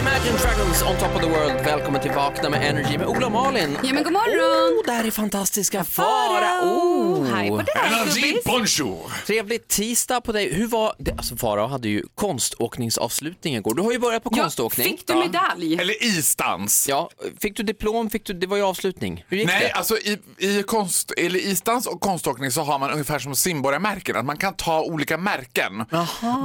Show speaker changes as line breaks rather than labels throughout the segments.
Imagine Dragons on top of the world. Välkommen till Vakna med Energy med Ola och Malin.
Ja men god morgon!
Oh, där är fantastiska Farao!
Hej på dig
Energy
gubbis!
bonjour!
Trevlig tisdag på dig. Hur var det? Alltså Farao hade ju konståkningsavslutning igår. Du har ju börjat på
Ja,
konståkning.
fick du
Ja.
medalj?
Eller isdans.
Ja, fick du diplom? Fick du, det var ju avslutning. Hur gick
Nej,
det?
alltså i, i, konst, eller isdans och konståkning så har man ungefär som simborgarmärken, att man kan ta olika märken.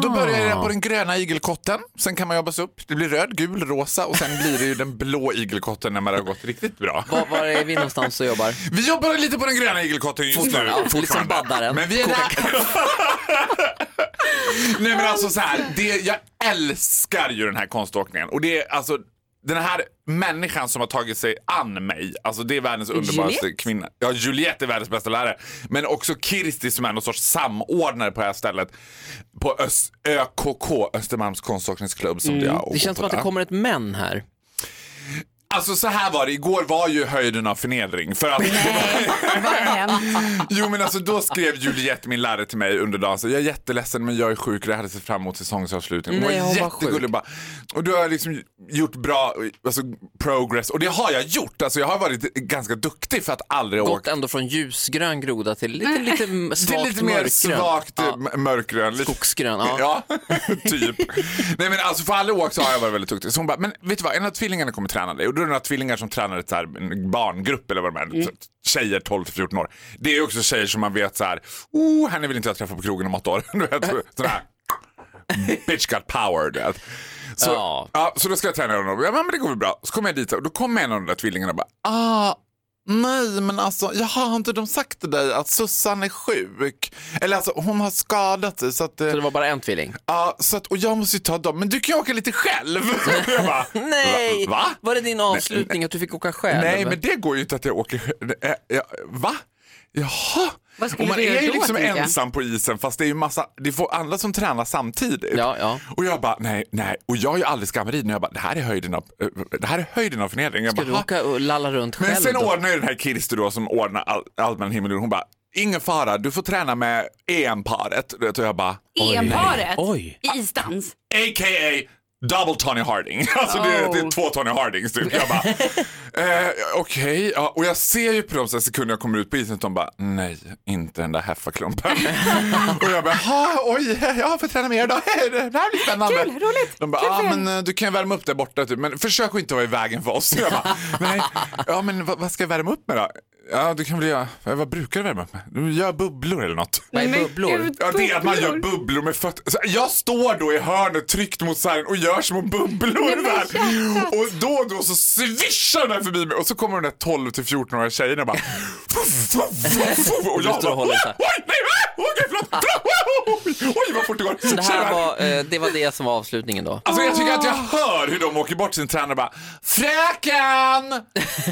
Då börjar jag på den gröna igelkotten, sen kan man jobba sig upp. Det blir röd, gul, rosa och sen blir det ju den blå igelkotten när man har gått riktigt bra.
Var, var är vi någonstans och jobbar?
Vi jobbar lite på den gröna igelkotten just nu.
Fortfarande, ja, liksom baddaren.
Men vi är där. Nej men alltså så här, det, jag älskar ju den här konståkningen. Och det är alltså den här människan som har tagit sig an mig. Alltså det är världens underbaraste
Juliette?
kvinna. Ja, Juliette är världens bästa lärare. Men också Kirsti som är någon sorts samordnare på det här stället. På Ös- ÖKK, Östermalms konståkningsklubb som det jag
Mm. Det känns som att det kommer ett men här.
Alltså så här var det, igår var ju höjden av förnedring. För att Jo men alltså då skrev Juliette, min lärare till mig under dagen, så jag är jätteledsen men jag är sjuk och det hade sett fram emot säsongsavslutningen.
Nej,
var
hon var
jättegullig
sjuk.
bara. Och då har jag liksom gjort bra alltså, progress och det har jag gjort. Alltså jag har varit ganska duktig för att aldrig ha
Gått
åkt.
ändå från ljusgrön groda till lite, lite m-
Det är
svagt
lite mer
mörkgrön.
svagt typ.
Ja.
m- mörkgrön. Lite-
Skogsgrön, ja.
typ. Nej men alltså för aldrig åkt så har jag varit väldigt duktig. Så hon bara, men vet du vad, en av tvillingarna kommer träna dig. Och då är det några tvillingar som tränar ett så här, en barngrupp eller vad de är.
Mm.
Så- Tjejer 12-14 år. Det är ju också tjejer som man vet så här, oh henne vill inte jag träffa på krogen om åtta år. Du vet, sån här, bitch got power. Du vet. Så,
Ja.
ja. så då ska jag träna honom. Ja men det går väl bra. Så kommer jag dit och då kommer en av de där tvillingarna och bara, ah, Nej, men alltså, jag har inte de sagt till dig att Sussan är sjuk? Eller alltså, hon har skadat sig så att... eh,
Så det var bara en tvilling?
Ja, så att, och jag måste ju ta dem, men du kan ju åka lite själv. jag bara,
Nej!
Va?
Var det din avslutning att du fick åka själv?
Nej, men det går ju inte att jag åker själv. Eh, ja, Va? Jaha?
Vad skulle
Och man
du göra
är ju
då,
liksom
tänker jag?
ensam på isen fast det är ju massa, det får andra som tränar samtidigt.
Ja, ja.
Och jag bara, nej, nej. Och jag är ju aldrig skamrid nu. Jag bara, det här är höjden av, eh, det här är höjden av förnedring. Jag
Ska
bara,
du
"Ha?"
åka och lalla runt
Men
själv
sen
då?
ordnar ju den här Kirsti då som ordnar all, allt mellan himmel och jord. Hon bara, ingen fara, du får träna med EM-paret. Du vet, Och jag bara,
EM-paret
Oj.
i isdans.
a.k.a. Double Tony Harding. Alltså det, är, det
Oh.
är två Tony Hardings typ. Jag bara, eh, okej. ja, och jag ser ju på de så här sekunder jag kommer ut på isen att de bara, nej, inte den där heffaklumpen. och jag bara, jaha, oj, jag får träna med er idag. Det här blir spännande.
Kul, roligt.
De bara,
Kul
ah,
för er.
men eh, du kan ju värma upp där borta typ. Men försök att inte vara i vägen för oss. Jag bara, nej, ja men vad, vad ska jag värma upp med då? Ja, du kan väl göra, vad brukar du värma upp med? Du gör bubblor eller något.
Vad är bubblor?
gud.
Ja, det är att man gör bubblor med fötterna. Så Jag står då i hörnet tryckt mot sargen och gör små bubblor där. Och då och då så svischar den här förbi mig och så kommer de där 12 till 14-åriga tjejerna och bara... fuff, fuff, fuff, fuff. Och
Du
jag
står
bara...
och håller
Oj,
så här.
oj, nej, ah, okej, förlåt. förlåt. Oj, vad fort det går.
Det
Tjejerna.
här var, eh, det var det som var avslutningen då.
Alltså jag tycker att jag hör hur de åker bort sin tränare och bara Fröken!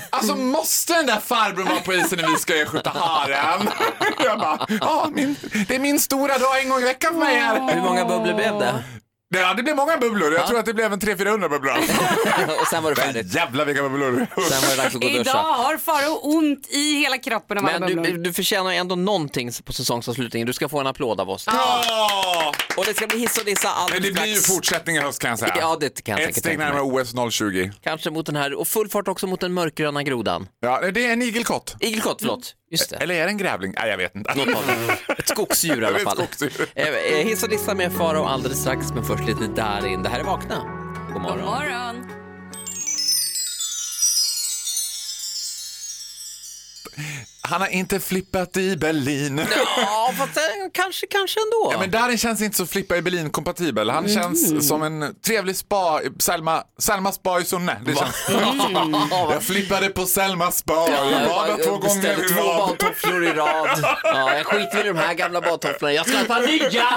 Alltså måste den där farbrorn vara på isen när vi ska skjuta haren? Jag bara, ja min, det är min stora dag en gång i veckan för mig här.
Hur många bubblor blev det?
Ja, det blev många bubblor, jag tror att det blev en 300-400 bubblor.
och sen var det
Men
färdigt.
jävlar vilka bubblor.
Sen var det dags att gå och
Idag
duscha.
har Farao ont i hela kroppen av alla
Men du,
bubblor.
du förtjänar ju ändå någonting på säsongsavslutningen. Du ska få en applåd av oss.
Ja!
Och det ska bli hiss och dissa allt
Men det blir ju
strax.
fortsättning i höst kan jag säga.
Ja, det kan jag
Ett
säkert
steg
tänka mig.
närmare OS 020.
Kanske mot den här, och full fart också mot den mörkgröna grodan.
Ja, det är en igelkott.
Igelkott, förlåt. Just det.
Eller är det en grävling? Nej, jag vet inte.
Något av dem. Ett skogsdjur i alla
Ett
fall.
skogsdjur.
Eh, eh, Hiss och dissa med Farao alldeles strax, men först lite Darin. Det här är Vakna. God
God
morgon.
morgon.
Han har inte flippat i Berlin.
Ja, fast eh, kanske, kanske ändå.
Ja, men Darin känns inte så flippa i Berlin kompatibel. Han
Mhm.
känns som en trevlig spa, Selma, Selma spa i Sunne. Det känns.
Mm.
jag flippade på Selma spa, jag badade två gånger
beställde
i
två
rad.
badtofflor i rad. Ja, jag skiter i de här gamla badtofflorna. Jag ska ha ett par nya!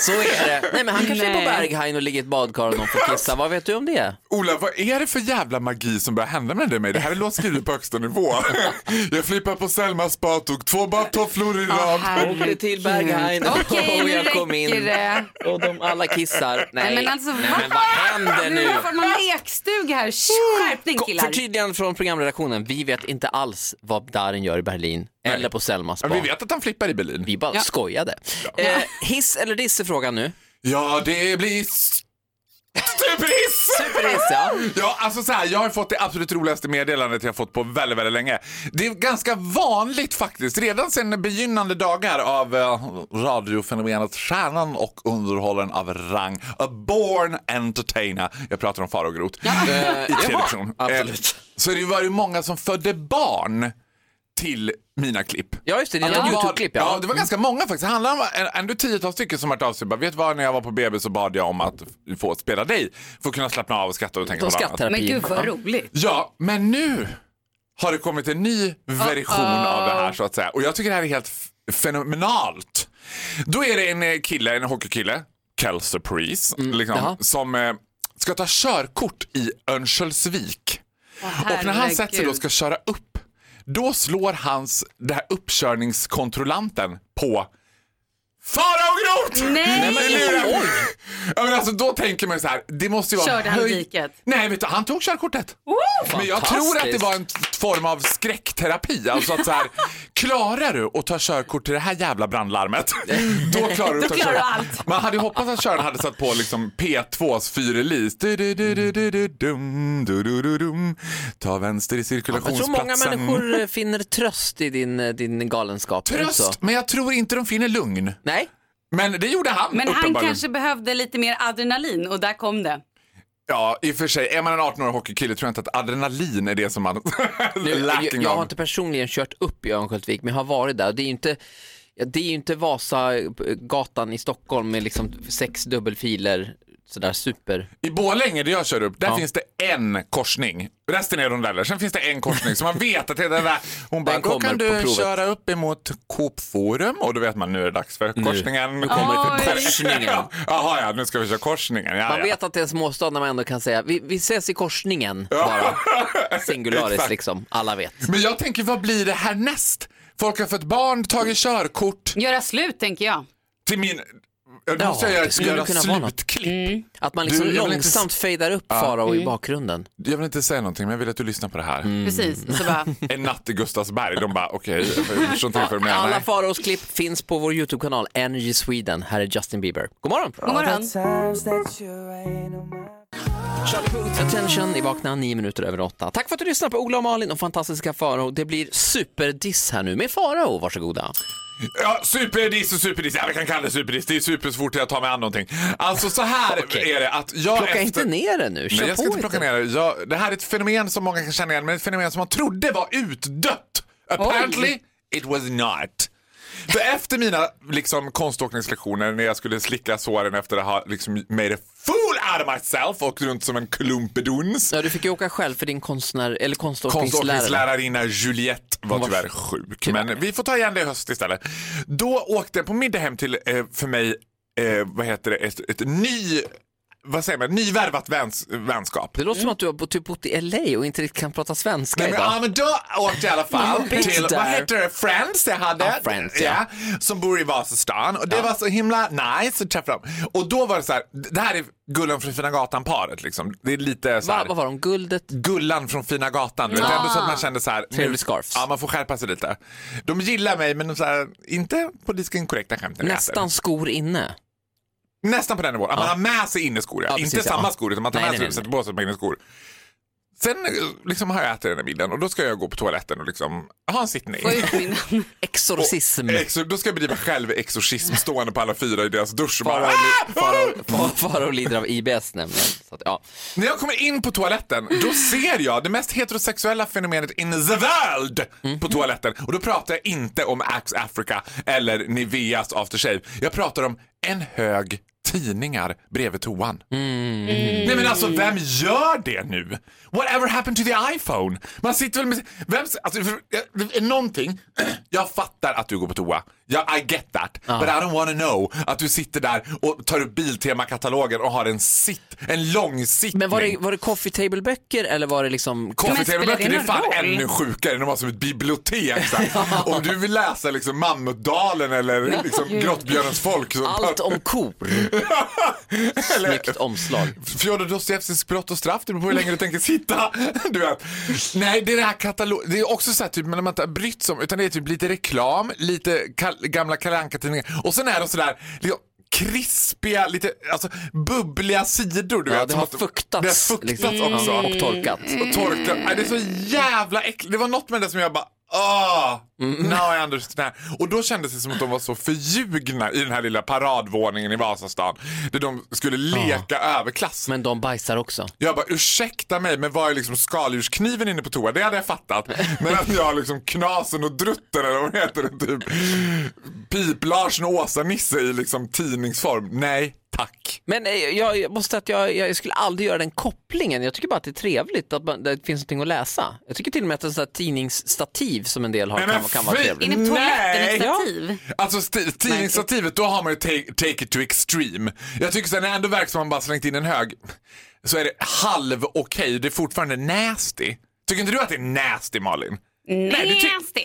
Så är det. Nej, men han kanske är på
Nej.
Berghain och ligger i ett badkar och någon får kissa. Vad vet du om det?
Ola, vad är det för jävla magi som börjar hända med dig med? Det här är låt skrivet på högsta nivå. jag flippade på Selma spa, tog två badtofflor i rad.
Jag åkte till Berghain
Okej,
och
nu
jag kom
räcker
in.
det.
Och de alla kissar. Nej,
Nej, men alltså,
Nej,
va?
men vad händer
Nu
nu?
har man lekstuga här. Shh, Skärpning
Ko-
killar.
Förtydligande från programredaktionen. Vi vet inte alls vad Darin gör i Berlin eller på Selmas
Ja,
barn.
vi vet att han flippar i Berlin.
Vi bara skojade. Eh, hiss eller diss är frågan nu.
Ja, det blir... s- Superhiss!
Superhiss, ja.
Ja, alltså så här, jag har fått det absolut roligaste meddelandet jag fått på väldigt, väldigt länge. Det är ganska vanligt faktiskt, redan sedan begynnande dagar av eh, radiofenomenet Stjärnan och underhållaren av rang, a born entertainer. Jag pratar om Farao Groth. Eh, I tredje
jaha,
person.
absolut.
Eh, så det var ju många som födde barn till mina klipp.
Ja, just det. Dina
var-
YouTube-klipp, ja. Mm.
det var ganska många faktiskt. Det handlade om en- ändå tiotals stycken som hört av sig. Bara, Vet du vad, när jag var på BB så bad jag om att få spela dig. För att kunna slappna av och skratta och tänka
Då
på något annat.
skrattar
Men gud vad roligt.
Ja, men nu har det kommit en ny version av det här så att säga. Och jag tycker det här är helt f- fenomenalt. Då är det en eh, kille, en hockeykille, Kelser Priest, liksom,
Mm, jaha.
som eh, ska ta körkort i Örnsköldsvik. Och när han
herregud.
sätter sig då och ska köra upp, då slår hans, det här uppkörningskontrollanten på Farao Groth!
Nej!
Det lurar- Ja, men alltså, då tänker man ju så här, det måste ju vara...
Körde han i
höj-
diket?
Nej, vet du, han tog körkortet. Men jag tror att det var en t- form av skräckterapi. Alltså att så här, klarar du att ta körkort till det här jävla brandlarmet, då klarar du att
Då
ta
klarar du
körkort.
allt.
Man hade ju hoppats att köraren hade satt på liksom P2s fyrelis. Du, du, du, du, du, du, dum, du, du, du, dum. Ta vänster i
Jag tror
cirkulationsplatsen.
många människor eh, finner tröst i din, eh, din galenskap. Är det inte så?
Tröst, men jag tror inte de finner lugn.
Nej,
Men det gjorde han
Men han
uppenbarligen.
kanske behövde lite mer adrenalin och där kom det.
Ja, i och för sig. Är man en 18-årig hockeykille tror jag inte att adrenalin är det som man
nu, jag,
lacking
jag har
av.
inte personligen kört upp i Örnsköldsvik, men jag har varit där. Det är ju inte, ja, det är ju inte Vasagatan i Stockholm med liksom sex dubbelfiler, sådär super.
I Borlänge där jag kör upp, där
Ja.
finns det en korsning. Resten är rondeller. Sen finns det en korsning. Så man vet att det är den där. Hon bara,
Den
då
kommer
kan
på
du
provet."
köra upp emot Coop Forum. Och då vet man, nu är det dags för korsningen. Nu
kommer
Oj.
korsningen.
Ja. Jaha, ja, nu ska vi köra korsningen. Ja,
Man
ja.
vet att det är en småstad när man ändå kan säga, vi, vi ses i korsningen bara. Singularis
Exakt.
liksom, alla vet.
Men jag tänker, vad blir det härnäst? Folk har fått barn, tagit körkort.
Göra slut tänker jag.
Till min... Då
Ja,
måste jag göra,
det skulle
göra
kunna vara något.
slutklipp.
Att man liksom
Du, jag vill inte s-
långsamt fejdar upp Farao i bakgrunden.
Jag vill inte säga någonting, men jag vill att du lyssnar på det här.
Mm.
Precis. Så bara,
En natt i Gustavsberg. De bara, okej, jag förstår inte varför de menar.
Alla Faraos klipp finns på vår YouTube-kanal Energy Sweden. Här är Justin Bieber. God morgon!
god morgon.
Charlie Puth, Attention, i vakna nio minuter över åtta. Tack för att du lyssnar på Ola och Malin och fantastiska Farao. Det blir superdiss här nu med Farao, varsågoda.
Ja, superdiss och superdiss. Ja, vi kan kalla det superdiss. Det är super så fort jag tar mig an någonting. Alltså så här
Okej.
är det att jag
Plocka
efter...
inte ner det nu, kör
Nej, jag
på
ska inte plocka
lite.
ner det. Jag, det här är ett fenomen som många kan känna igen, men ett fenomen som man trodde var utdött. Apparently, it was not. För efter mina liksom, konståkningslektioner när jag skulle slicka såren efter att ha liksom, made a fool out of myself och runt som en klumpeduns.
Ja, du fick ju åka själv för din konstnär, eller konståkningslärare.
Konståkningslärarinna Juliette var
var
tyvärr sjuk. Men vi får ta igen det i höst istället. Då åkte jag på middag hem till, eh, för mig, eh, vad heter det, ett, ett ny, vad säger man, nyvärvat väns, vänskap.
Det låter som att du har bo- typ bott i LA och inte riktigt kan prata svenska
Mm. Nej, men,
idag.
ja, men då åkte jag i alla fall
Bitch
till,
där.
vad heter det, Friends jag hade.
Ja, Friends, ja.
som bor i Vasastan. Och det var så himla nice att träffa dem. Och då var det så här, det här är Gullan från Fina Gatan-paret liksom. Det är lite så här.
Va, vad var de? Guldet?
Gullan från Fina Gatan. Det är ändå så att man kände så här. nu-
Trevlig scarfs.
Ja, man får skärpa sig lite. De gillar mig, men de så här, inte politiskt inkorrekta skämten jag
Nästan
äter.
skor inne.
Nästan på den nivån. Att man har med sig inneskor. Ja.
Ja,
inte
precis, ja.
samma skor, utan man tar
Nej,
med
nej,
sig
nej,
och sätter på sig ett par inneskor. Sen eh, liksom, har jag ätit den här middagen och då ska jag gå på toaletten och liksom ha en sittning.
Få ut min namn.
Exorcism.
Exor- då ska jag bedriva självexorcism stående på alla fyra i deras dusch. och Bara,
Farao li-
"Ah!"
Farao- Fa- Farao lider av IBS nämligen. Så att, ja.
När jag kommer in på toaletten, då ser jag det mest heterosexuella fenomenet in the world på toaletten. Och då pratar jag inte om Axe Africa eller Niveas aftershave. Jag pratar om en hög tidningar bredvid toan. Nej men alltså
Mm.
vem gör det nu? Whatever happened to the iPhone? Man sitter väl med... Vem, alltså, för, eh, någonting. Jag fattar att du går på toa. Jag, I get that. But I don't wanna know att du sitter där och tar upp Biltema-katalogen och har en sitt, en lång sittning.
Men var det, var det coffee table-böcker eller var det liksom...
Coffee
Men spelar
table böcker
det
det är fan
någon roll?
ännu sjukare. De har som ett bibliotek. Så här. Om du vill läsa liksom Mammutdalen eller liksom Grottbjörnens folk. Så
Allt om kor. Snyggt omslag.
Fjodor Dostojevskijs brott och straff, det beror på hur länge du tänker sitta. Du vet. Nej, det är det här katalog... Det är också så här, typ, men man inte har brytt sig om, utan det är typ lite reklam, lite kal- gamla Kalle Anka-tidningar och sen är de sådär, liksom, krispiga, lite alltså, bubbliga sidor. Du
Ja,
vet,
det
som
har
att-
fuktats,
Det har fuktats
liksom.
också.
Ja, och torkat.
Mm.
Och torkat. Nej, Det är så jävla äckligt. Det var något med det som jag bara, ah,
Mm.
now I understand. Och då kändes det som att de var så förljugna i den här lilla paradvåningen i Vasastan. Där de skulle leka överklass.
Men de bajsar också.
Jag bara, ursäkta mig, men var är liksom skaldjurskniven inne på toa? Det hade jag fattat. Men att jag liksom knasen och drutten eller vad heter det, typ Pip-Larsen och Åsa-Nisse i liksom tidningsform. Nej, tack.
Men eh, jag, jag måste säga att jag, jag skulle aldrig göra den kopplingen. Jag tycker bara att det är trevligt att man, det finns någonting att läsa. Jag tycker till och med att en sån här tidningsstativ som en del har
Nej,
kan,
men
kan vara
fy!
trevligt.
Inne på toaletten,
Nej.
ett stativ.
Alltså sti- tidningsstativet, då har man ju take, take it to extreme. Jag tycker sen när det ändå verkar som man bara slängt in en hög så är det halv okej, det är fortfarande nasty. Tycker inte du att det är nasty Malin? Nej, du ty-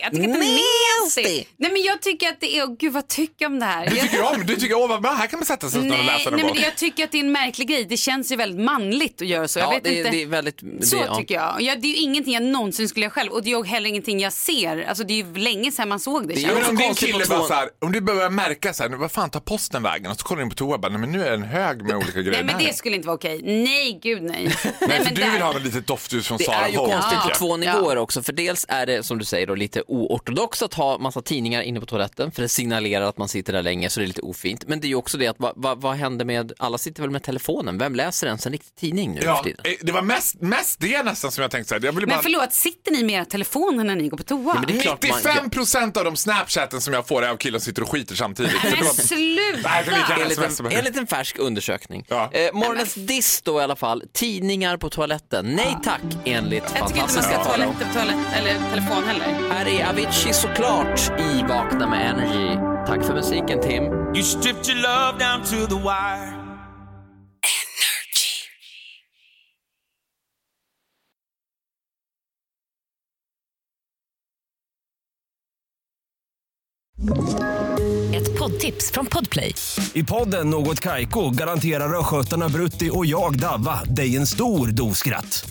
Nasty. Jag tycker att det är nasty. Nej, men jag tycker att det är... Oh, gud, vad tycker jag om det här?
Du
Jag-
tycker om, du tycker åh vad bra, här kan man sätta sig utan att
Nej,
läsa någon
nej men
gång.
det, jag tycker att det är en märklig grej. Det känns ju väldigt manligt att göra så. Jag
Ja,
vet
det,
inte.
det är väldigt... Det,
Så
ja.
tycker jag. Ja, det är ju ingenting jag någonsin skulle göra själv och det är ju heller ingenting jag ser. Alltså det är ju länge sedan man såg det.
Det är
känns
ju
Men
det.
om
också
din
konstigt
kille
på
bara
tvåan.
såhär, om du börjar märka såhär, vad fan tar posten vägen? Och så kollar du in på toa och bara, nej men nu är det en hög med olika grejer.
Nej men
här.
det skulle inte vara okej. Nej gud nej. nej
Nej, för
men
du
där-
vill ha en litet doftljus från
Det
Sara
är ju konstigt på
tycker jag.
två nivåer också, för dels är det som du säger då lite oortodoxt att ha massa tidningar inne på toaletten för det signalerar att man sitter där länge så det är lite ofint. Men det är ju också det att vad, vad, vad händer med, alla sitter väl med telefonen, vem läser ens en riktig tidning nu
Ja,
för tiden?
eh, det var mest, mest det nästan som jag tänkte såhär. Jag ville bara...
Men förlåt, sitter ni med era telefoner när ni går på toa?
men det är klart man-
95 procent av de snapchatten som jag får är av killar som sitter och skiter samtidigt. Så det
men
var-
sluta!
Nej, för lite-
Enligt
sms.
en, enligt en färsk undersökning.
Ja.
Eh, morgonens diss då i alla fall, tidningar på toaletten. Nej tack enligt
Jag tycker inte man
fantastiska
ska ha
Farao.
toalett, toalett eller telefon heller.
Här är Avicii såklart i Vakna med Energy. Tack för musiken Tim.
You stripped your love down to the wire.
Ett poddtips från Podplay.
I podden Något Kaiko garanterar östgötarna Brutti och jag, Davva, dig en stor dos skratt.